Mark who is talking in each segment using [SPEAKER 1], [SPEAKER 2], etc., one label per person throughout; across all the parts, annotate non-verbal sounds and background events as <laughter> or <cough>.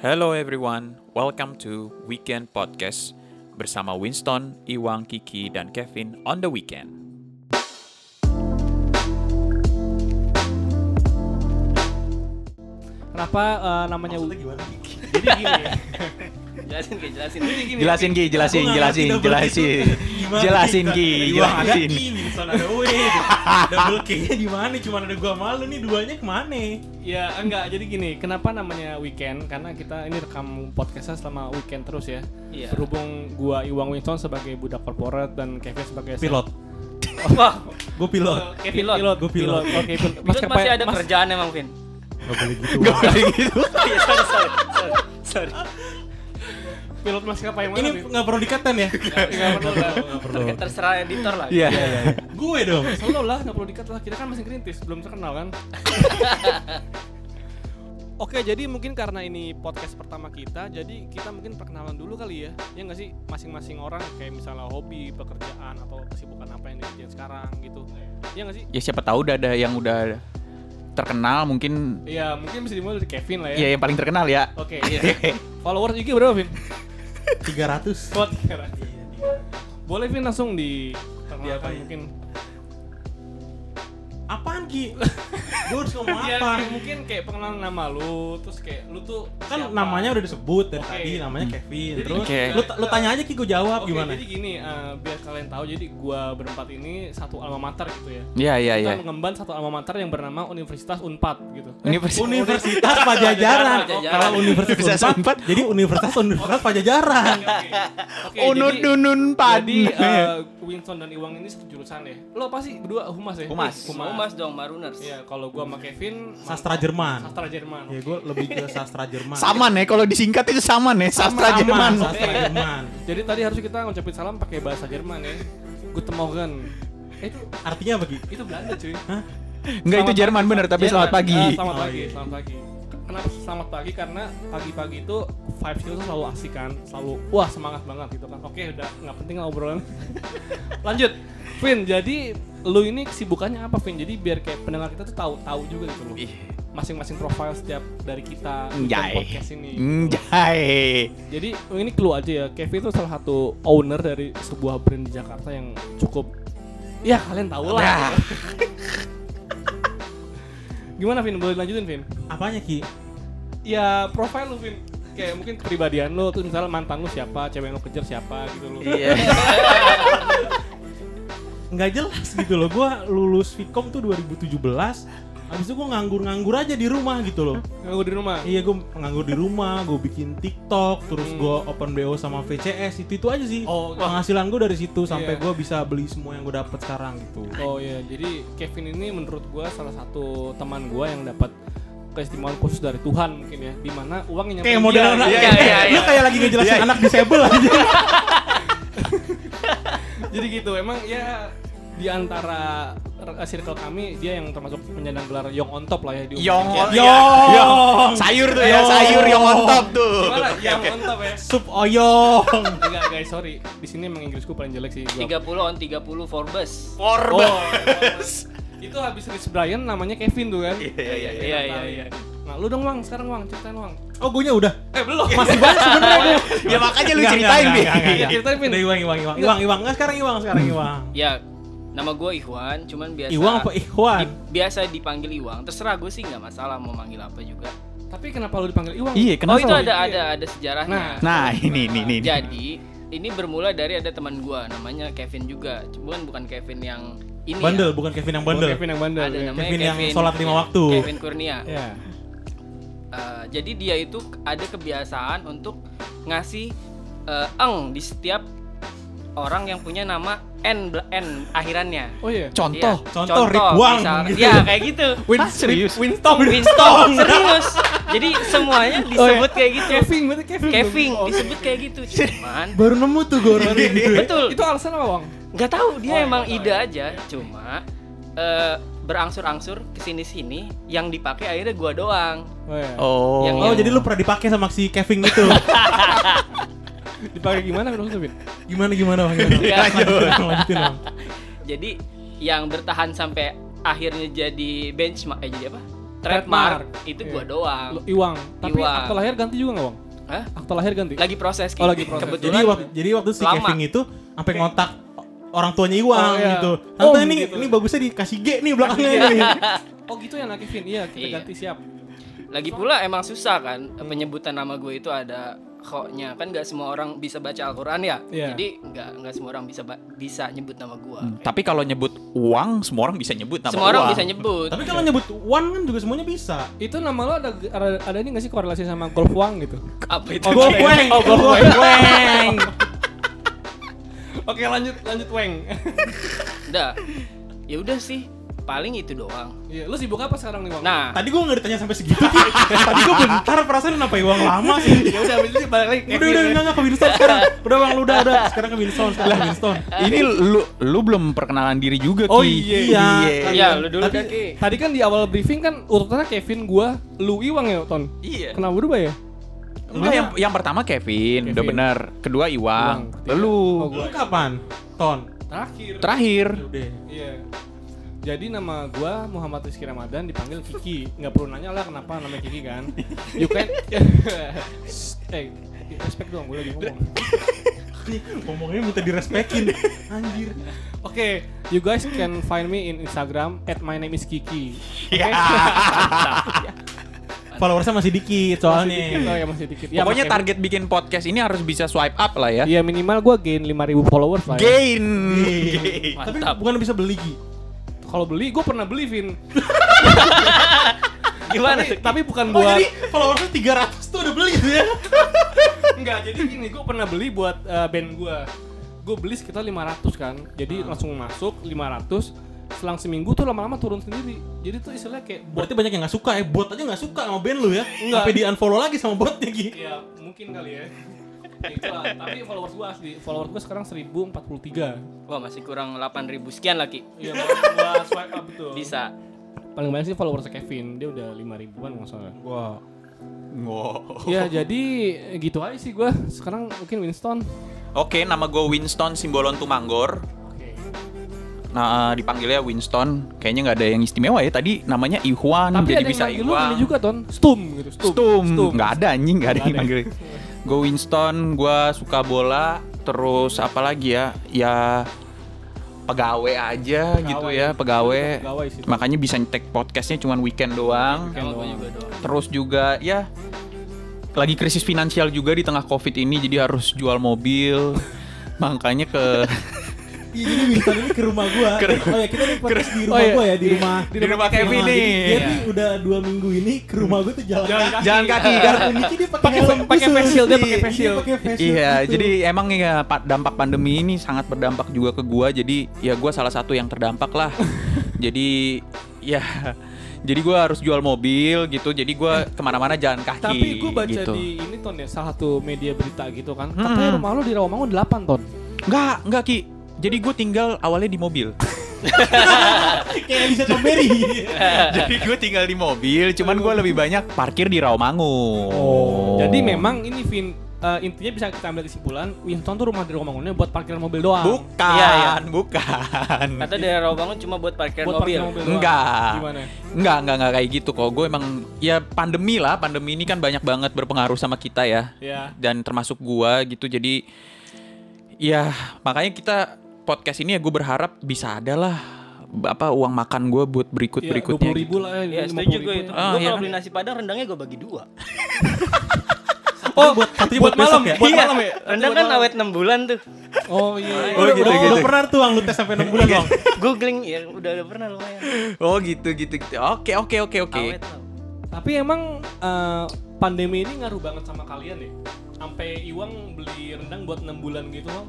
[SPEAKER 1] Hello everyone, welcome to Weekend Podcast bersama Winston, Iwang, Kiki, dan Kevin on the weekend.
[SPEAKER 2] Kenapa eh, namanya
[SPEAKER 3] Maksudnya gimana?
[SPEAKER 2] Jadi gini.
[SPEAKER 4] jelasin kayak jelasin
[SPEAKER 1] Jelasin Ki, jelasin,
[SPEAKER 3] Aku nggak
[SPEAKER 1] jelasin,
[SPEAKER 3] ngerti double
[SPEAKER 1] jelasin.
[SPEAKER 3] kick itu gimana,
[SPEAKER 1] Jelasin
[SPEAKER 3] Ki.
[SPEAKER 1] Ki,
[SPEAKER 3] Dari Iwang ada
[SPEAKER 1] jelasin.
[SPEAKER 3] Ki, Wilson ada W. Double kicknya di mana? Cuman ada gua malu nih duanya kemana?
[SPEAKER 2] ya enggak, jadi gini, kenapa namanya weekend? Karena kita ini rekam podcastnya selama weekend terus ya.
[SPEAKER 4] Iya.
[SPEAKER 2] Berhubung gua Iwang Winston sebagai budak korporat dan Kevin sebagai
[SPEAKER 3] Pilot.
[SPEAKER 1] <laughs>
[SPEAKER 4] wah
[SPEAKER 3] Gue pilot.
[SPEAKER 2] Kevin pilot,
[SPEAKER 4] Pilot.
[SPEAKER 2] pilot,
[SPEAKER 3] Gua pilot.
[SPEAKER 2] Oke, pil-
[SPEAKER 4] mas
[SPEAKER 2] maskapai-
[SPEAKER 4] masih ada
[SPEAKER 2] ya? mas-
[SPEAKER 4] kerjaan emang Vin
[SPEAKER 3] Gak boleh gitu.
[SPEAKER 1] Gak boleh gitu.
[SPEAKER 4] oh iya sorry sorry sorry, sorry.
[SPEAKER 2] pilot maskapai yang mana?
[SPEAKER 3] Ini
[SPEAKER 2] Bi?
[SPEAKER 3] nggak perlu dikatan ya?
[SPEAKER 2] Nggak perlu lah.
[SPEAKER 4] Ter- terserah editor lah
[SPEAKER 1] Iya.
[SPEAKER 3] Gue dong.
[SPEAKER 2] Selalu lah, nggak perlu dikat lah. Kita kan masih kritis, belum terkenal kan. <laughs> Oke, jadi mungkin karena ini podcast pertama kita, jadi kita mungkin perkenalan dulu kali ya. Ya nggak sih, masing-masing orang kayak misalnya hobi, pekerjaan, atau kesibukan apa yang dikerjain sekarang gitu. Ya nggak sih?
[SPEAKER 1] Ya siapa tahu udah ada yang udah terkenal mungkin
[SPEAKER 2] Iya, mungkin bisa dimulai dari Kevin lah ya.
[SPEAKER 1] ya yang paling terkenal ya.
[SPEAKER 2] Oke, <laughs> iya. Followers IG berapa, Vin?
[SPEAKER 3] 300.
[SPEAKER 2] Buat Boleh Vin langsung di perkenalkan
[SPEAKER 3] Diapain?
[SPEAKER 2] mungkin.
[SPEAKER 3] Apaan Ki? Gue harus ngomong
[SPEAKER 2] Ya,
[SPEAKER 3] apa?
[SPEAKER 2] kayak mungkin kayak pengenalan nama lu, terus kayak lu tuh
[SPEAKER 3] Kan
[SPEAKER 2] siapa?
[SPEAKER 3] namanya udah disebut dari
[SPEAKER 2] Oke.
[SPEAKER 3] tadi, namanya
[SPEAKER 1] Hmm.
[SPEAKER 3] Kevin.
[SPEAKER 2] Jadi-
[SPEAKER 3] Terus
[SPEAKER 1] Oke.
[SPEAKER 3] lu, lu tanya aja Ki, gue jawab
[SPEAKER 2] Oke,
[SPEAKER 3] gimana?
[SPEAKER 2] jadi gini, eh, biar kalian tahu, jadi gua berempat ini satu alma mater gitu ya.
[SPEAKER 1] Iya, iya,
[SPEAKER 2] Kita
[SPEAKER 1] iya.
[SPEAKER 2] mengemban satu alma mater yang bernama Universitas Unpad gitu.
[SPEAKER 1] Universitas
[SPEAKER 2] <laughs>
[SPEAKER 3] Universitas Pajajaran.
[SPEAKER 4] Pajajaran.
[SPEAKER 3] Kalau Universitas
[SPEAKER 1] Universitas
[SPEAKER 3] Unpad, jadi Universitas Universitas Pajajaran.
[SPEAKER 2] Oke,
[SPEAKER 1] Unun
[SPEAKER 2] jadi,
[SPEAKER 1] Dunun
[SPEAKER 2] jadi
[SPEAKER 1] Padi.
[SPEAKER 2] eh, Winston dan Iwang ini satu jurusan ya. Lo apa sih? Berdua humas ya?
[SPEAKER 1] Humas.
[SPEAKER 4] Humas.
[SPEAKER 2] Humas.
[SPEAKER 4] Humas dong Maruners
[SPEAKER 2] Iya, kalau gua sama Kevin
[SPEAKER 3] Sastra Jerman.
[SPEAKER 2] sastra Jerman.
[SPEAKER 3] Ya gue lebih ke sastra Jerman.
[SPEAKER 1] Sama nih ya, kalau disingkat itu sama nih sastra
[SPEAKER 3] Sama,
[SPEAKER 1] Jerman.
[SPEAKER 3] Sastra Jerman.
[SPEAKER 2] Jadi tadi harus kita ngucapin salam pakai bahasa Jerman ya. Guten Morgen. Eh, itu
[SPEAKER 3] Artinya apa Ki?
[SPEAKER 2] itu Belanda cuy.
[SPEAKER 1] Enggak itu
[SPEAKER 2] Selamat
[SPEAKER 1] Jerman bener tapi
[SPEAKER 2] Jerman.
[SPEAKER 1] selamat pagi.
[SPEAKER 2] Ah, selamat
[SPEAKER 3] Oh,
[SPEAKER 2] pagi,
[SPEAKER 3] iya.
[SPEAKER 2] selamat pagi. Kenapa selamat pagi? Karena pagi-pagi itu vibes itu selalu asik kan, selalu wah semangat banget gitu kan. Oke, udah nggak penting lah obrolan. <laughs> Lanjut, Vin. Jadi lu ini kesibukannya apa, Vin? Jadi biar kayak pendengar kita tuh tahu tahu juga gitu loh.
[SPEAKER 1] Ih.
[SPEAKER 2] Masing-masing profil setiap dari kita di
[SPEAKER 1] Njay.
[SPEAKER 2] podcast ini.
[SPEAKER 1] Mm,
[SPEAKER 2] gitu.
[SPEAKER 1] Njay.
[SPEAKER 2] Jadi ini clue aja ya, Kevin itu salah satu owner dari sebuah brand di Jakarta yang cukup ya kalian tahu
[SPEAKER 1] Nah.
[SPEAKER 2] lah. <laughs> Gimana Vin? Boleh lanjutin Vin?
[SPEAKER 3] Apanya Ki?
[SPEAKER 2] Ya profil lu Vin Kayak mungkin kepribadian lu tuh misalnya mantan lu siapa, cewek yang lu kejar siapa gitu lu
[SPEAKER 3] Iya.
[SPEAKER 4] Iya.
[SPEAKER 3] nggak jelas gitu loh. Gua lulus Vkom tuh 2017. Habis itu gue nganggur-nganggur aja di rumah gitu loh.
[SPEAKER 2] Nganggur di rumah
[SPEAKER 3] Iya gue nganggur di rumah, gue bikin TikTok, terus gue open BO sama VCS itu itu aja sih.
[SPEAKER 2] Oh,
[SPEAKER 3] penghasilan gue dari situ sampai
[SPEAKER 2] Iya.
[SPEAKER 3] gue bisa beli semua yang gue dapat sekarang gitu.
[SPEAKER 2] Oh iya, jadi Kevin ini menurut gua salah satu teman gua yang dapat keistimewaan khusus dari Tuhan mungkin ya Dimana uang yang
[SPEAKER 3] Kayak
[SPEAKER 2] nyampein
[SPEAKER 3] model
[SPEAKER 2] dia,
[SPEAKER 3] anak,
[SPEAKER 2] gitu.
[SPEAKER 4] iya, iya,
[SPEAKER 3] lu
[SPEAKER 4] iya.
[SPEAKER 3] kayak lagi ngejelasin anak disable aja.
[SPEAKER 2] Jadi gitu, emang ya di antara eh, circle kami dia yang termasuk penyandang gelar Young on top lah ya di
[SPEAKER 1] Yong
[SPEAKER 2] umur.
[SPEAKER 1] on- Yong. Sayur tuh ya,
[SPEAKER 3] Yong.
[SPEAKER 1] sayur yang on top tuh.
[SPEAKER 2] Gimana? Young on top ya.
[SPEAKER 3] Sup oyong.
[SPEAKER 2] <laughs> Enggak guys, sorry. Di sini emang Inggrisku paling jelek sih. Gua-
[SPEAKER 4] 30 on 30 Forbes
[SPEAKER 1] Korban.
[SPEAKER 2] Oh, itu habis Rich Brian namanya Kevin tuh kan. Iya
[SPEAKER 4] iya, iya, iya, iya.
[SPEAKER 2] Nah, lu dong Wang, sekarang Wang ceritain Wang.
[SPEAKER 3] Oh, gue nya udah.
[SPEAKER 2] Eh, <laughs> belum.
[SPEAKER 3] Masih banyak sebenarnya gue.
[SPEAKER 1] ya makanya lu ceritain
[SPEAKER 3] Bi.
[SPEAKER 1] Bi.
[SPEAKER 2] Ceritain, Vin.
[SPEAKER 3] Iya. Udah Iwang, Iwang, Iwang. Iwang, Iwang. Nggak, sekarang Iwang, sekarang Iwang.
[SPEAKER 4] ya nama gue Iwan cuman biasa
[SPEAKER 3] Iwang apa Ikhwan?
[SPEAKER 4] di- biasa dipanggil Iwang terserah gue sih nggak masalah mau manggil apa juga
[SPEAKER 2] Tapi kenapa lu dipanggil Iwang?
[SPEAKER 1] Iya,
[SPEAKER 4] oh
[SPEAKER 1] kenapa?
[SPEAKER 4] itu ada
[SPEAKER 2] Iya.
[SPEAKER 4] ada ada sejarahnya
[SPEAKER 2] Nah,
[SPEAKER 1] Nah, ini ini ini. ini.
[SPEAKER 4] jadi ini bermula dari ada teman gue namanya Kevin juga cuman bukan Kevin yang ini ya.
[SPEAKER 3] Bandel, bukan Kevin yang bandel.
[SPEAKER 2] Oh, Kevin yang bandel.
[SPEAKER 4] ada
[SPEAKER 2] ya.
[SPEAKER 4] namanya Iya,
[SPEAKER 3] Kevin yang sholat lima waktu.
[SPEAKER 4] Kevin Kurnia
[SPEAKER 2] Iya.
[SPEAKER 4] Eh, jadi dia itu ada kebiasaan untuk ngasih eh, eng di setiap orang yang punya nama N bel- N akhirannya.
[SPEAKER 2] Oh iya.
[SPEAKER 1] Contoh.
[SPEAKER 4] Iya,
[SPEAKER 3] contoh, Ridwan,
[SPEAKER 4] misal-
[SPEAKER 3] gitu.
[SPEAKER 4] Iya, kayak
[SPEAKER 3] <laughs>
[SPEAKER 4] gitu.
[SPEAKER 1] Win serius.
[SPEAKER 2] Winston.
[SPEAKER 4] Winston serius. Jadi semuanya
[SPEAKER 3] Oh, iya.
[SPEAKER 4] disebut kayak gitu.
[SPEAKER 2] Kevin, berarti Kevin. dong.
[SPEAKER 4] Kevin
[SPEAKER 2] Oh,
[SPEAKER 4] disebut kayak gitu.
[SPEAKER 3] <laughs>
[SPEAKER 4] Cuman
[SPEAKER 3] Baru nemu tuh gue orang ini.
[SPEAKER 4] betul.
[SPEAKER 2] Itu alasan apa, Wang?
[SPEAKER 4] nggak tahu
[SPEAKER 2] Oh,
[SPEAKER 4] dia
[SPEAKER 2] iya,
[SPEAKER 4] emang
[SPEAKER 2] nggak tahu,
[SPEAKER 4] ide aja cuma eh, berangsur-angsur kesini sini yang dipakai akhirnya gua doang
[SPEAKER 2] Oh iya.
[SPEAKER 1] Oh.
[SPEAKER 4] Yang-
[SPEAKER 3] Oh, jadi lu pernah dipakai sama si Kevin itu.
[SPEAKER 2] Dipakai gimana menurut lu, Vin?
[SPEAKER 3] gimana gimana Bang? Gimana?
[SPEAKER 4] Iya.
[SPEAKER 3] Lanjutin, Bang, lanjutin, Bang.
[SPEAKER 4] jadi yang bertahan sampai akhirnya jadi benchmark eh jadi apa trademark,
[SPEAKER 2] Trademark.
[SPEAKER 4] itu
[SPEAKER 2] Iya.
[SPEAKER 4] gua doang.
[SPEAKER 2] Lu- Iwang. Tapi
[SPEAKER 4] Iwang.
[SPEAKER 2] akte lahir ganti juga nggak, Wang?
[SPEAKER 4] Hah?
[SPEAKER 2] Akte lahir ganti?
[SPEAKER 4] Lagi proses
[SPEAKER 2] Oh, lagi proses.
[SPEAKER 3] Jadi
[SPEAKER 4] Kebetulan
[SPEAKER 3] waktu, jadi waktu si
[SPEAKER 4] lama.
[SPEAKER 3] Kevin itu sampai ngontak orang tuanya Iwang
[SPEAKER 2] Oh, iya.
[SPEAKER 3] gitu.
[SPEAKER 2] Oh,
[SPEAKER 3] Tante ini
[SPEAKER 2] begitu.
[SPEAKER 3] ini bagusnya dikasih G nih belakangnya nih.
[SPEAKER 2] Oh gitu ya, Nak Kevin. Iya, kita
[SPEAKER 4] Iya.
[SPEAKER 2] ganti siap.
[SPEAKER 4] lagi pula emang susah kan
[SPEAKER 2] Hmm.
[SPEAKER 4] penyebutan nama gue itu ada koknya kan nggak semua orang bisa baca Al-Qur'an ya.
[SPEAKER 2] Iya. Hmm.
[SPEAKER 4] Jadi nggak nggak semua orang bisa ba- bisa nyebut nama gua.
[SPEAKER 1] Tapi kalau nyebut uang, semua orang bisa nyebut nama
[SPEAKER 4] semua orang
[SPEAKER 1] uang.
[SPEAKER 4] bisa nyebut.
[SPEAKER 3] Tapi kalau nyebut Wan kan juga semuanya bisa.
[SPEAKER 2] Itu nama lo ada ada, ada ini nggak sih korelasi sama golf Wang
[SPEAKER 4] <laughs>
[SPEAKER 2] gitu?
[SPEAKER 4] Apa itu?
[SPEAKER 3] Oh, Weng. Oh, Weng.
[SPEAKER 2] Oke, lanjut lanjut Weng.
[SPEAKER 4] Udah. Ya udah sih, paling itu doang.
[SPEAKER 2] <laughs> Iya, lu sibuk apa sekarang nih, Wang?
[SPEAKER 3] Ah.
[SPEAKER 4] Nah,
[SPEAKER 3] Tadi gua nggak ditanya sampai segitu. Ki. Tadi gua bentar perasaan kenapa Iwang lama sih.
[SPEAKER 2] ya udah, abis itu balik lagi.
[SPEAKER 3] Udah udah enggak enggak ke Winston
[SPEAKER 2] <laughs>
[SPEAKER 3] sekarang. Udah Bang, lu udah udah sekarang ke Winston, sekarang ke Winston.
[SPEAKER 1] Ini lu lu belum perkenalan diri juga
[SPEAKER 2] Oh,
[SPEAKER 1] Ki.
[SPEAKER 2] iya.
[SPEAKER 4] iya lu dulu
[SPEAKER 3] Tapi-
[SPEAKER 4] dah, Ki.
[SPEAKER 2] Tadi kan di awal briefing kan urutannya Kevin, gua, lu Iwang ya, Ton.
[SPEAKER 4] Iya.
[SPEAKER 2] Kenapa berubah ya?
[SPEAKER 1] Enggak, yang yang pertama Kevin, udah
[SPEAKER 2] Kevin.
[SPEAKER 1] benar. Kedua Iwang,
[SPEAKER 2] Iwang,
[SPEAKER 1] lalu
[SPEAKER 2] Oh,
[SPEAKER 3] Lu kapan? Ton.
[SPEAKER 2] Terakhir.
[SPEAKER 1] terakhir
[SPEAKER 2] <laughs>
[SPEAKER 3] Udah.
[SPEAKER 2] Iya. Jadi nama gua Muhammad Rizky Ramadan dipanggil Kiki. Nggak perlu nanya lah kenapa namanya Kiki kan. You can
[SPEAKER 4] <laughs>
[SPEAKER 2] <laughs> Eh, respect dong gue lagi ngomong.
[SPEAKER 3] Ngomongnya minta direspekin.
[SPEAKER 2] <laughs>
[SPEAKER 3] Anjir.
[SPEAKER 2] Oke, you guys can find me in Instagram at my name is Kiki. Oke?
[SPEAKER 3] Followersnya masih
[SPEAKER 2] Masih dikit,
[SPEAKER 3] dikit
[SPEAKER 2] oh
[SPEAKER 3] soalnya.
[SPEAKER 2] ya masih dikit. Ya,
[SPEAKER 1] Pokoknya
[SPEAKER 2] makanya-
[SPEAKER 1] target bikin podcast ini harus bisa swipe up lah ya.
[SPEAKER 2] Iya minimal gua gain 5000 followers lah. Ya.
[SPEAKER 1] Gain.
[SPEAKER 2] <laughs>
[SPEAKER 3] Iya. Tapi
[SPEAKER 4] Mantap.
[SPEAKER 3] bukan bisa beli Ki.
[SPEAKER 2] Kalau beli gua pernah beli Vin.
[SPEAKER 4] Gimana
[SPEAKER 2] tapi,
[SPEAKER 4] tuh?
[SPEAKER 2] tapi bukan
[SPEAKER 3] Oh
[SPEAKER 2] buat
[SPEAKER 3] jadi followersnya 300 tuh udah beli gitu ya?
[SPEAKER 2] Enggak, jadi gini, gue pernah beli buat eh, band gue Gue beli sekitar 500 kan Jadi langsung masuk 500 Selang seminggu tuh lama-lama turun sendiri Jadi tuh istilahnya kayak <laughs> bot
[SPEAKER 3] Berarti banyak yang gak suka ya, bot aja gak suka sama band lu ya
[SPEAKER 2] Enggak.
[SPEAKER 3] Sampai di unfollow lagi sama botnya Ki
[SPEAKER 2] Ya mungkin kali ya Ya, itulah. Tapi followers gue asli Followers gue sekarang 1043
[SPEAKER 4] Wah, masih kurang 8000 sekian lagi.
[SPEAKER 2] Iya, buat- buat swipe up tuh
[SPEAKER 4] Bisa.
[SPEAKER 2] Paling banyak sih followers Kevin Dia udah 5 ribuan nggak salah
[SPEAKER 3] Wah
[SPEAKER 2] Ya jadi gitu aja sih gue Sekarang mungkin Winston
[SPEAKER 1] Oke, nama gue Winston Simbolon Tumanggor.
[SPEAKER 2] Oke
[SPEAKER 1] Nah, dipanggilnya Winston. Kayaknya nggak ada yang istimewa ya. Tadi namanya Iwan, jadi
[SPEAKER 2] Tapi ada yang
[SPEAKER 1] bisa
[SPEAKER 2] manggil lu
[SPEAKER 1] Iwan.
[SPEAKER 2] ini juga Ton Stum gitu
[SPEAKER 1] Stum. Nggak ada anjing, nggak ada
[SPEAKER 2] Nggak
[SPEAKER 1] yang
[SPEAKER 2] ada.
[SPEAKER 1] manggil. Gue Winston, gue suka bola. Terus apa lagi ya? Ya pegawai aja gitu ya, pegawai.
[SPEAKER 2] Pegawai sih.
[SPEAKER 1] Makanya bisa nyetek podcastnya cuman weekend doang.
[SPEAKER 4] Sama gua juga doang.
[SPEAKER 1] Terus juga ya lagi krisis finansial juga di tengah covid ini, jadi harus jual mobil. Makanya ke
[SPEAKER 3] Iya jadi Winston ini ke rumah gua Oh ya kita nih podcast di rumah
[SPEAKER 2] Oh iya,
[SPEAKER 3] gua ya, di
[SPEAKER 2] iya.
[SPEAKER 3] rumah
[SPEAKER 1] di rumah Kevin
[SPEAKER 3] Jadi
[SPEAKER 1] nih.
[SPEAKER 3] dia nih udah 2 minggu ini ke rumah gua tuh jalan
[SPEAKER 2] Jalan
[SPEAKER 3] kaki
[SPEAKER 1] Jalan kaki.
[SPEAKER 3] Jalan kaki dia pakai
[SPEAKER 2] Pakai-
[SPEAKER 3] helm
[SPEAKER 2] pakai
[SPEAKER 3] khusus.
[SPEAKER 2] face shield, dia pakai
[SPEAKER 3] Iya,
[SPEAKER 2] face shield.
[SPEAKER 3] pakai face shield
[SPEAKER 1] Iya,
[SPEAKER 3] gitu.
[SPEAKER 1] jadi emang ya pa- dampak pandemi ini sangat berdampak juga ke gua. Jadi ya gua salah satu yang terdampak lah. jadi ya jadi gua harus jual mobil gitu. Jadi gua kemana-mana jalan kaki.
[SPEAKER 2] Tapi gue baca
[SPEAKER 1] gitu. Hmm.
[SPEAKER 2] di ini ton ya salah satu media berita gitu kan.
[SPEAKER 1] Mm-mm.
[SPEAKER 2] Katanya rumah lu di Rawamangun 8 ton.
[SPEAKER 1] Nggak, nggak Ki. Jadi gue tinggal awalnya di mobil.
[SPEAKER 3] Kayak Lisa Tomeri
[SPEAKER 1] <laughs> Jadi gue tinggal di mobil, cuman gua lebih banyak parkir di Rawamangun. Oh.
[SPEAKER 2] Jadi memang ini Vin eh, intinya bisa kita ambil kesimpulan Winston tuh rumah di Rawamangunnya buat parkiran mobil doang.
[SPEAKER 1] bukan,
[SPEAKER 4] Iya, iya.
[SPEAKER 1] bukan.
[SPEAKER 4] Kata daerah Rawamangun cuma buat parkiran
[SPEAKER 2] buat
[SPEAKER 4] mobil.
[SPEAKER 2] parkiran mobil Gitu doang.
[SPEAKER 1] Enggak.
[SPEAKER 2] Gimana?
[SPEAKER 1] Enggak, enggak, enggak kayak gitu kok. Gue emang ya pandemi lah, pandemi ini kan banyak banget berpengaruh sama kita ya.
[SPEAKER 2] Ya.
[SPEAKER 1] dan termasuk gua gitu jadi ya makanya kita podcast ini ya gue berharap bisa ada lah apa uang makan gua buat gitu. berikut berikutnya
[SPEAKER 2] Dua ribu
[SPEAKER 1] Iya,
[SPEAKER 2] lah
[SPEAKER 4] Ya,
[SPEAKER 2] ya.
[SPEAKER 4] setuju gue itu.
[SPEAKER 1] Ah,
[SPEAKER 4] gue
[SPEAKER 1] iya
[SPEAKER 4] kalau
[SPEAKER 1] kan?
[SPEAKER 4] beli nasi padang rendangnya gue bagi
[SPEAKER 2] <laughs>
[SPEAKER 4] dua.
[SPEAKER 3] Oh buat katanya buat besok
[SPEAKER 1] Iya.
[SPEAKER 3] ya
[SPEAKER 2] buat malam ya.
[SPEAKER 4] Rendang kan awet 6 bulan tuh.
[SPEAKER 2] Oh iya.
[SPEAKER 1] Oh,
[SPEAKER 3] Udah-
[SPEAKER 1] gitu,
[SPEAKER 3] udah-
[SPEAKER 1] gitu.
[SPEAKER 3] Udah pernah tuh Ang lu tes sampai 6 bulan Bang
[SPEAKER 4] Googling ya udah udah pernah lumayan.
[SPEAKER 1] oh gitu gitu gitu oke oke oke oke
[SPEAKER 4] Awet tau.
[SPEAKER 2] Tapi emang eh, pandemi ini ngaruh banget sama kalian ya. Sampai Iwang beli rendang buat 6 bulan gitu loh.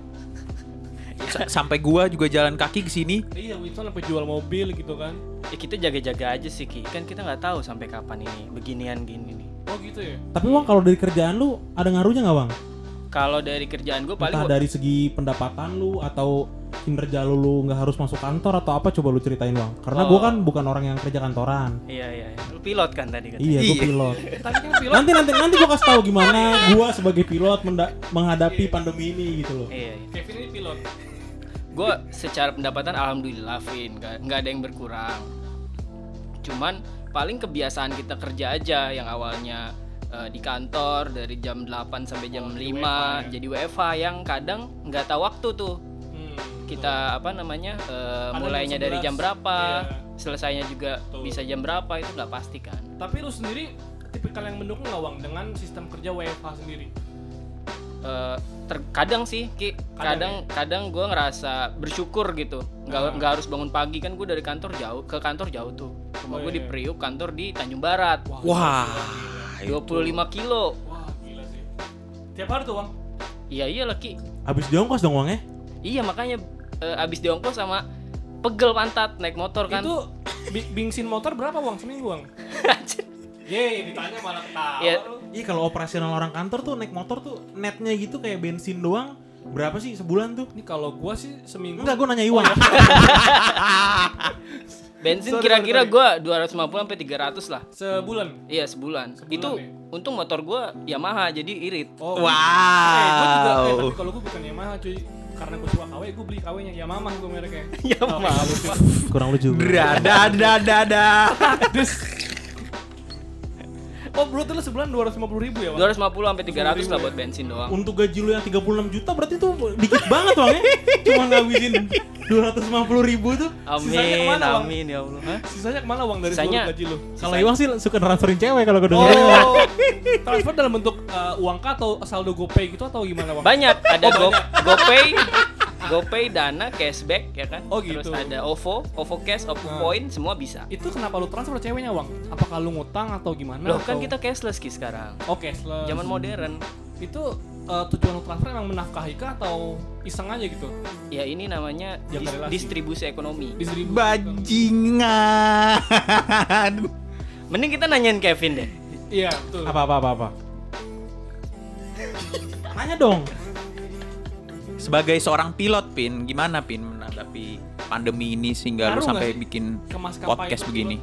[SPEAKER 1] Sa- sampai gua juga jalan kaki ke sini
[SPEAKER 2] Iya, Winston sampai jual mobil gitu kan.
[SPEAKER 4] Ya kita jaga-jaga aja sih Ki. Kan kita nggak tahu sampai kapan ini beginian gini nih.
[SPEAKER 2] Oh gitu ya.
[SPEAKER 3] Tapi Bang kalau dari kerjaan lu ada ngaruhnya gak Bang?
[SPEAKER 4] Kalau dari kerjaan gue paling
[SPEAKER 3] Entah
[SPEAKER 4] gua-
[SPEAKER 3] dari segi pendapatan lu atau kinerja lu lu nggak harus masuk kantor atau apa coba lu ceritain bang karena gua
[SPEAKER 4] Oh.
[SPEAKER 3] kan bukan orang yang kerja kantoran
[SPEAKER 4] Iya iya. iya. Lu pilot kan tadi kan.
[SPEAKER 3] iya gua
[SPEAKER 1] Iya.
[SPEAKER 3] pilot
[SPEAKER 2] Tapi kan pilot
[SPEAKER 3] nanti nanti nanti gua kasih tahu gimana gua sebagai pilot menda- menghadapi
[SPEAKER 2] Iya.
[SPEAKER 3] pandemi ini gitu loh
[SPEAKER 4] Iya. iya.
[SPEAKER 2] Kevin ini pilot.
[SPEAKER 4] Gue secara pendapatan alhamdulillah Vin nggak nggak ada yang berkurang. Cuman paling kebiasaan kita kerja aja yang awalnya eh, di kantor dari jam 8 sampai jam
[SPEAKER 2] Oh,
[SPEAKER 4] 5
[SPEAKER 2] jadi WFH ya.
[SPEAKER 4] jadi WFH yang kadang nggak tahu waktu tuh
[SPEAKER 2] Hmm,
[SPEAKER 4] kita apa namanya eh,
[SPEAKER 2] Ada jam
[SPEAKER 4] mulainya dari
[SPEAKER 2] 11.
[SPEAKER 4] jam berapa
[SPEAKER 2] Iya.
[SPEAKER 4] selesainya juga
[SPEAKER 2] Betul.
[SPEAKER 4] bisa jam berapa itu nggak pasti kan
[SPEAKER 2] betul. Tapi lu sendiri tipikal yang mendukung nggak Wang dengan sistem kerja WFH sendiri?
[SPEAKER 4] Eh, terkadang sih Ki.
[SPEAKER 2] Kadang ya?
[SPEAKER 4] kadang kadang, gue ngerasa bersyukur gitu nggak
[SPEAKER 2] Ah.
[SPEAKER 4] nggak harus bangun pagi kan gue dari kantor jauh ke kantor jauh tuh rumah
[SPEAKER 2] Oh,
[SPEAKER 4] gue
[SPEAKER 2] iya,
[SPEAKER 4] di
[SPEAKER 2] iya.
[SPEAKER 4] Priuk kantor di Tanjung Barat
[SPEAKER 1] Wah.
[SPEAKER 4] 25 kilo
[SPEAKER 2] Wah gila sih. Tiap hari tuh Wang.
[SPEAKER 4] iya iya leki
[SPEAKER 3] Abis diongkos dong uangnya?
[SPEAKER 4] iya makanya eh, abis diongkos sama pegel pantat naik motor kan <laughs>
[SPEAKER 2] Itu bi- bensin motor berapa Wang seminggu Wang? Yeay ditanya malah ketawa
[SPEAKER 4] Iya.
[SPEAKER 2] lu.
[SPEAKER 3] Iya kalau operasional orang kantor tuh naik motor tuh netnya gitu kayak bensin doang berapa sih sebulan tuh?
[SPEAKER 2] Ini kalau gua sih seminggu.
[SPEAKER 3] Enggak, gue nanya Iwan.
[SPEAKER 4] bensin
[SPEAKER 2] Sorry,
[SPEAKER 4] kira-kira
[SPEAKER 2] sorry,
[SPEAKER 4] gue 250 sampai 300 lah
[SPEAKER 2] Sebulan.
[SPEAKER 4] iya sebulan,
[SPEAKER 2] Sebulan
[SPEAKER 4] itu
[SPEAKER 2] ya?
[SPEAKER 4] untung motor gue Yamaha jadi irit
[SPEAKER 2] Oh,
[SPEAKER 1] Wow.
[SPEAKER 2] Eh, gua juga, eh, tapi kalau gue bukan Yamaha cuy karena gue suka KW, gue beli KW-nya Yamaha gue mereknya. Oh, iya. Yamaha.
[SPEAKER 3] <laughs> Kurang lucu. <laughs>
[SPEAKER 1] Drada, dada, dada.
[SPEAKER 2] Oh, bro, tuh lu sebulan 250 ribu ya, Bang?
[SPEAKER 4] 250 sampai 300 lah buat bensin doang
[SPEAKER 3] Untuk gaji lu yang 36 juta berarti tuh dikit banget <laughs> uangnya. Cuma ngabisin 250 ribu tuh.
[SPEAKER 2] Sisanya
[SPEAKER 4] Amin,
[SPEAKER 2] kemana, Bang?
[SPEAKER 4] amin ya Allah. Hah?
[SPEAKER 2] Sisanya kemana, Bang, dari
[SPEAKER 4] Sisanya-
[SPEAKER 2] seluruh gaji lu?
[SPEAKER 3] Kalau Iwan sih suka transferin cewek kalau gue
[SPEAKER 2] Oh,
[SPEAKER 3] denger.
[SPEAKER 2] transfer dalam bentuk eh, uang kah atau saldo GoPay gitu atau gimana, Bang?
[SPEAKER 4] Oh, Banyak, ada Go, GoPay, GoPay, Dana, cashback ya kan.
[SPEAKER 2] Oh,
[SPEAKER 4] Terus
[SPEAKER 2] gitu.
[SPEAKER 4] ada OVO, OVO Cash, OVO
[SPEAKER 2] Nah.
[SPEAKER 4] Point, semua bisa.
[SPEAKER 2] Itu kenapa lu transfer ceweknya, Bang? Apakah lu ngutang atau gimana?
[SPEAKER 4] Loh, kan
[SPEAKER 2] atau-
[SPEAKER 4] kita cashless ki sekarang.
[SPEAKER 2] Oke, sele-
[SPEAKER 4] Zaman modern.
[SPEAKER 2] itu eh, tujuan lu transfer emang menafkahi kah atau iseng aja gitu?
[SPEAKER 4] Ya ini namanya
[SPEAKER 2] Jaga
[SPEAKER 4] dis-
[SPEAKER 2] relasi.
[SPEAKER 4] distribusi ekonomi.
[SPEAKER 2] Distribusi.
[SPEAKER 1] Bajingan. <laughs>
[SPEAKER 4] Mending kita nanyain Kevin deh.
[SPEAKER 2] Iya, betul.
[SPEAKER 3] Apa apa apa apa. Nanya dong.
[SPEAKER 1] Sebagai seorang pilot, Pin, gimana Pin menanggapi pandemi ini sehingga lu
[SPEAKER 2] Ngaruh
[SPEAKER 1] sampai
[SPEAKER 2] nggak sih
[SPEAKER 1] bikin
[SPEAKER 2] ke maskapai
[SPEAKER 1] podcast
[SPEAKER 2] itu
[SPEAKER 1] begini?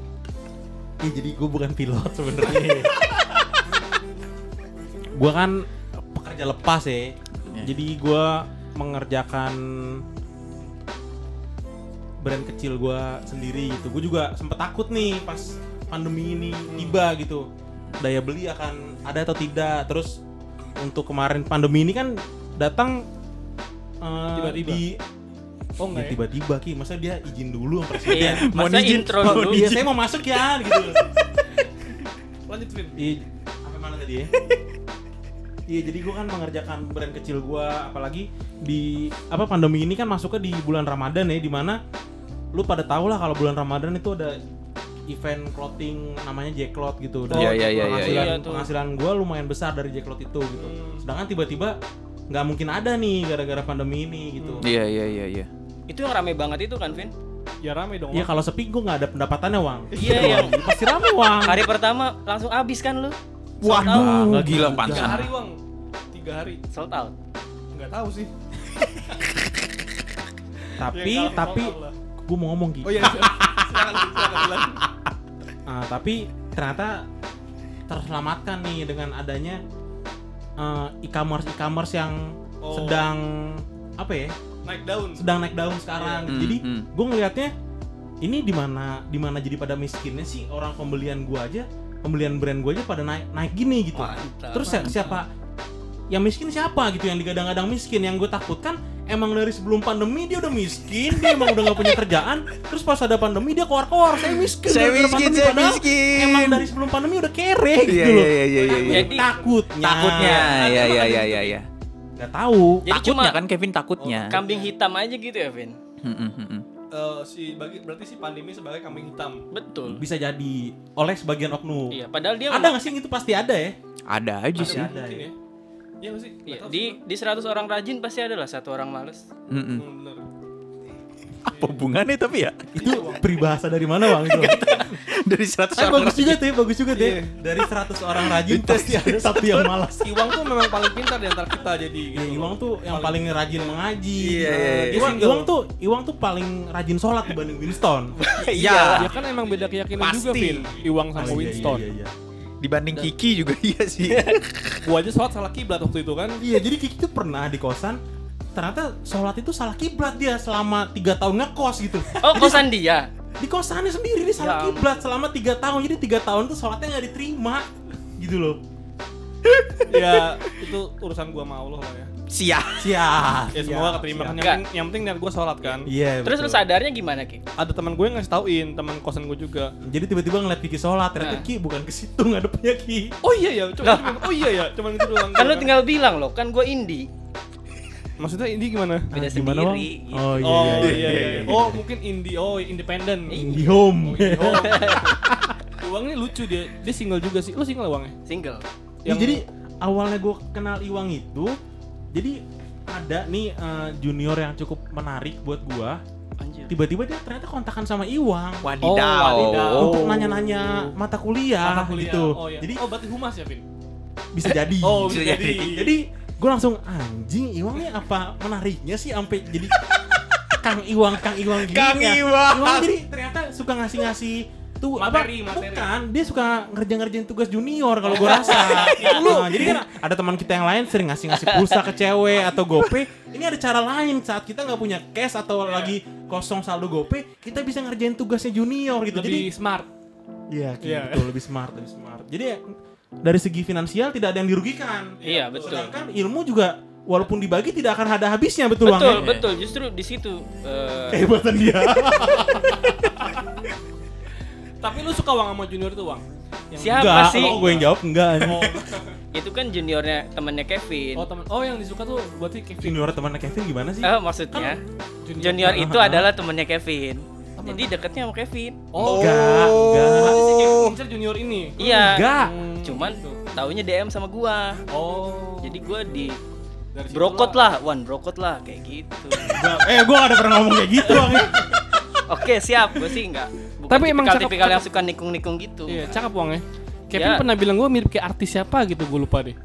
[SPEAKER 3] Ya jadi gue bukan pilot <laughs> sebenarnya. gue kan pekerja lepas ya. Jadi gue mengerjakan brand kecil gue sendiri gitu. Gue juga sempet takut nih pas pandemi ini tiba gitu. Daya beli akan ada atau tidak. Terus untuk kemarin pandemi ini kan datang eh,
[SPEAKER 2] Tiba-tiba.
[SPEAKER 3] di
[SPEAKER 2] Oh,
[SPEAKER 3] ya
[SPEAKER 2] enggak ya?
[SPEAKER 3] tiba-tiba ki, masa dia izin dulu sama presiden.
[SPEAKER 4] Iya,
[SPEAKER 1] Mau
[SPEAKER 4] masa
[SPEAKER 1] izin,
[SPEAKER 4] intro
[SPEAKER 1] mau
[SPEAKER 4] dulu.
[SPEAKER 3] Iya, saya <laughs> mau masuk ya gitu.
[SPEAKER 2] Lanjut, Vin.
[SPEAKER 3] Iya, apa mana tadi ya? <laughs> Iya, jadi gue kan mengerjakan brand kecil gue, apalagi di apa pandemi ini kan masuknya di bulan Ramadan ya, dimana lu pada tau lah kalau bulan Ramadan itu ada event clothing namanya Jacklot gitu. Dan
[SPEAKER 1] Iya, iya, iya, iya,
[SPEAKER 3] penghasilan,
[SPEAKER 4] iya. tuh.
[SPEAKER 3] penghasilan gue lumayan besar dari Jacklot itu gitu.
[SPEAKER 2] Hmm.
[SPEAKER 3] Sedangkan tiba-tiba nggak mungkin ada nih gara-gara pandemi ini gitu.
[SPEAKER 1] Iya, iya, iya, iya.
[SPEAKER 4] Itu yang rame banget itu kan, Vin?
[SPEAKER 2] Ya rame dong.
[SPEAKER 3] Iya
[SPEAKER 2] Bang.
[SPEAKER 3] kalau sepi gue nggak ada pendapatannya, Wang.
[SPEAKER 4] Iya,
[SPEAKER 3] Gitu,
[SPEAKER 4] iya.
[SPEAKER 3] Wang. Pasti rame, Wang.
[SPEAKER 4] <laughs> Hari pertama langsung habis kan lu? Sold out.
[SPEAKER 1] Waduh,
[SPEAKER 3] Nggak
[SPEAKER 1] gila
[SPEAKER 3] gitu.
[SPEAKER 2] Tiga hari,
[SPEAKER 1] pantesan.
[SPEAKER 2] Bang. Tiga hari.
[SPEAKER 4] Sold out.
[SPEAKER 2] Enggak tahu sih.
[SPEAKER 3] Tapi,
[SPEAKER 2] Ya, kalau-
[SPEAKER 3] tapi
[SPEAKER 2] kalau- kalau.
[SPEAKER 3] gue mau ngomong gitu.
[SPEAKER 2] Oh iya, <laughs> silakan silakan silakan.
[SPEAKER 3] Ah, tapi ternyata terselamatkan nih dengan adanya eh, e-commerce e-commerce yang
[SPEAKER 2] Oh.
[SPEAKER 3] sedang apa ya
[SPEAKER 2] Naik daun.
[SPEAKER 3] sedang naik daun sekarang
[SPEAKER 1] Iya.
[SPEAKER 3] jadi
[SPEAKER 1] Hmm, hmm.
[SPEAKER 3] gue ngelihatnya ini di mana di mana jadi pada miskinnya sih orang pembelian gue aja pembelian brand gue aja pada naik naik gini gitu
[SPEAKER 4] Mantap.
[SPEAKER 3] terus ya- siapa yang miskin siapa gitu yang digadang-gadang miskin yang gue takutkan emang dari sebelum pandemi dia udah miskin dia emang udah nggak punya kerjaan terus pas ada pandemi dia keluar-keluar saya miskin
[SPEAKER 1] Saya
[SPEAKER 3] gara-gara
[SPEAKER 1] miskin,
[SPEAKER 3] pandemi."
[SPEAKER 1] saya
[SPEAKER 3] Padahal
[SPEAKER 1] miskin.
[SPEAKER 3] ya? emang dari sebelum pandemi udah kere gitu
[SPEAKER 1] Iya, iya,
[SPEAKER 3] loh
[SPEAKER 1] iya, iya, iya.
[SPEAKER 4] Jadi-
[SPEAKER 3] takutnya
[SPEAKER 1] Takutnya, iya, iya, iya, iya, iya.
[SPEAKER 3] nggak tahu
[SPEAKER 4] Jadi cuma Oh,
[SPEAKER 1] Takutnya kan Kevin takutnya.
[SPEAKER 4] kambing hitam aja gitu ya, Vin.
[SPEAKER 1] Hmm, hmm, hmm, hmm.
[SPEAKER 2] Eh, si bagi berarti si pandemi sebagai kambing hitam.
[SPEAKER 4] Betul.
[SPEAKER 3] bisa jadi oleh sebagian oknum
[SPEAKER 4] Iya, padahal dia
[SPEAKER 3] ada nggak sih yang itu pasti ada ya
[SPEAKER 1] Ada aja sih.
[SPEAKER 3] ada
[SPEAKER 2] Mungkin
[SPEAKER 3] ya.
[SPEAKER 2] ya. Iya nggak sih? Nggak
[SPEAKER 4] Iya,
[SPEAKER 2] tahu
[SPEAKER 4] di di 100 orang rajin pasti ada lah satu orang males.
[SPEAKER 1] Hmm,
[SPEAKER 2] sih.
[SPEAKER 1] hmm.
[SPEAKER 2] Hmm, bener.
[SPEAKER 1] Apa hubungannya tapi ya? <laughs>
[SPEAKER 3] itu peribahasa dari mana bang itu
[SPEAKER 1] Dari 100 orang.
[SPEAKER 3] tapi bagus juga tuh ya, bagus juga tuh ya.
[SPEAKER 2] Iya.
[SPEAKER 3] dari 100 orang rajin pasti ada satu yang malas
[SPEAKER 2] Iwang tuh memang paling pintar di antara kita jadi
[SPEAKER 3] Ya,
[SPEAKER 2] gitu.
[SPEAKER 3] Iwang tuh yang paling rajin mengaji.
[SPEAKER 1] Iya, iya, iya.
[SPEAKER 3] Nah, Iwang, Iwang tuh Iwang tuh paling rajin sholat dibanding Winston.
[SPEAKER 2] Ya
[SPEAKER 1] Iya.
[SPEAKER 2] kan emang beda keyakinan
[SPEAKER 1] Pasti.
[SPEAKER 2] juga, Vin. Iwang sama
[SPEAKER 3] Oh, iya,
[SPEAKER 2] Winston.
[SPEAKER 3] Iya, iya, iya.
[SPEAKER 1] Dibanding Kiki juga iya sih.
[SPEAKER 2] Gua aja sholat salah kiblat waktu itu kan.
[SPEAKER 3] Iya, jadi Kiki tuh pernah di kosan ternyata sholat itu salah kiblat dia selama tiga tahun ngekos gitu.
[SPEAKER 4] Oh, kosan dia.
[SPEAKER 3] di kosannya sendiri di
[SPEAKER 4] Ya
[SPEAKER 3] salah
[SPEAKER 4] ampun.
[SPEAKER 3] kiblat selama tiga tahun jadi tiga tahun tuh sholatnya nggak diterima gitu loh
[SPEAKER 2] <laughs> ya itu urusan gua sama Allah lah ya.
[SPEAKER 1] Sia.
[SPEAKER 3] siap
[SPEAKER 2] Ya semoga keterima kan. Yang,
[SPEAKER 4] Enggak.
[SPEAKER 2] penting- yang penting niat gua sholat kan.
[SPEAKER 3] iya
[SPEAKER 4] Terus lu
[SPEAKER 3] betul.
[SPEAKER 4] sadarnya gimana, Ki?
[SPEAKER 2] Ada teman gue yang ngasih tauin, teman kosan gue juga.
[SPEAKER 3] jadi tiba-tiba ngeliat Kiki sholat ternyata
[SPEAKER 4] Nah.
[SPEAKER 3] Ki bukan ke situ ngadepnya Ki
[SPEAKER 2] Oh iya ya, cuma, cuma- oh iya ya, cuman gitu doang.
[SPEAKER 4] Kan lu tinggal bilang loh, kan gue indie.
[SPEAKER 2] Maksudnya ini gimana?
[SPEAKER 3] Ah,
[SPEAKER 4] Beda
[SPEAKER 3] gimana, Bang?
[SPEAKER 4] sendiri, gitu.
[SPEAKER 3] oh iya
[SPEAKER 2] Oh
[SPEAKER 3] iya, iya.
[SPEAKER 2] iya, iya. Oh mungkin indie, oh independen.
[SPEAKER 3] di home Oh.
[SPEAKER 2] <laughs> Uangnya lucu dia, dia single juga sih. Lu single uangnya?
[SPEAKER 4] Single.
[SPEAKER 3] Ya, <laughs> jadi awalnya gue kenal Iwang itu, jadi ada nih eh, junior yang cukup menarik buat gua.
[SPEAKER 4] Anjir.
[SPEAKER 2] Iya.
[SPEAKER 3] Tiba-tiba dia ternyata kontakan sama Iwang
[SPEAKER 1] Wadidaw.
[SPEAKER 2] wadidaw. Oh.
[SPEAKER 3] untuk nanya-nanya mata kuliah,
[SPEAKER 2] mata kuliah.
[SPEAKER 3] gitu.
[SPEAKER 2] Oh iya.
[SPEAKER 3] Jadi
[SPEAKER 2] oh berarti humas ya, Vin?
[SPEAKER 3] bisa jadi.
[SPEAKER 2] Oh,
[SPEAKER 1] bisa
[SPEAKER 2] bisa
[SPEAKER 1] jadi.
[SPEAKER 2] jadi.
[SPEAKER 3] Jadi gue langsung anjing Iwang nih apa menariknya sih sampai jadi Kang Iwang Kang Iwang gini
[SPEAKER 1] Kang
[SPEAKER 3] ya.
[SPEAKER 1] Iwang.
[SPEAKER 3] jadi ternyata suka ngasih-ngasih tuh
[SPEAKER 2] Materi,
[SPEAKER 3] apa?
[SPEAKER 2] materi.
[SPEAKER 3] Bukan, dia suka ngerjain-ngerjain tugas junior kalau gue
[SPEAKER 2] <laughs> Iya.
[SPEAKER 3] rasa. Nah, jadi kan ada teman kita yang lain sering ngasih-ngasih pulsa ke cewek atau gope. Ini ada cara lain saat kita nggak punya cash atau lagi kosong saldo gope, kita bisa ngerjain tugasnya junior gitu.
[SPEAKER 2] Lebih
[SPEAKER 3] jadi
[SPEAKER 2] smart.
[SPEAKER 3] iya Ki,
[SPEAKER 2] Iya.
[SPEAKER 3] betul lebih smart, lebih smart. Jadi ya, dari segi finansial tidak ada yang dirugikan.
[SPEAKER 4] Iya, betul.
[SPEAKER 3] Sedangkan ilmu juga walaupun dibagi tidak akan ada habisnya betul
[SPEAKER 4] Betul,
[SPEAKER 3] Bang, ya?
[SPEAKER 4] betul. Justru di situ eh,
[SPEAKER 3] Kehebatan
[SPEAKER 4] <laughs>
[SPEAKER 3] dia.
[SPEAKER 2] Tapi lu suka uang sama junior tuh, Wang? Yang
[SPEAKER 4] siapa
[SPEAKER 3] enggak,
[SPEAKER 4] sih?
[SPEAKER 3] kalau gue yang jawab enggak.
[SPEAKER 4] Itu kan juniornya temennya
[SPEAKER 2] Oh,
[SPEAKER 4] Kevin.
[SPEAKER 2] teman. Oh, yang disuka tuh berarti Kevin. Nah,
[SPEAKER 3] Junior temannya Kevin gimana sih?
[SPEAKER 4] Eh, maksudnya junior itu adalah temennya Kevin. Jadi deketnya sama Kevin.
[SPEAKER 2] Oh,
[SPEAKER 3] Enggak, enggak.
[SPEAKER 2] berarti si Kevin Incer junior ini.
[SPEAKER 4] Iya.
[SPEAKER 3] Enggak.
[SPEAKER 2] Hmm,
[SPEAKER 4] Cuman
[SPEAKER 2] gitu.
[SPEAKER 4] taunya DM sama gua.
[SPEAKER 2] Oh.
[SPEAKER 4] Jadi gua di
[SPEAKER 2] Dari situ
[SPEAKER 4] brokot lah, Wan brokot lah kayak gitu.
[SPEAKER 3] Enggak. Eh, gue gak ada pernah ngomong kayak gitu, Bang.
[SPEAKER 4] Oke, siap. Gua sih enggak. Bukan
[SPEAKER 2] Tapi emang cakep-
[SPEAKER 4] tipikal yang suka nikung-nikung gitu.
[SPEAKER 2] Iya, cakep uangnya. Kevin
[SPEAKER 4] Iya.
[SPEAKER 2] pernah bilang gue mirip kayak artis siapa gitu, gue lupa deh.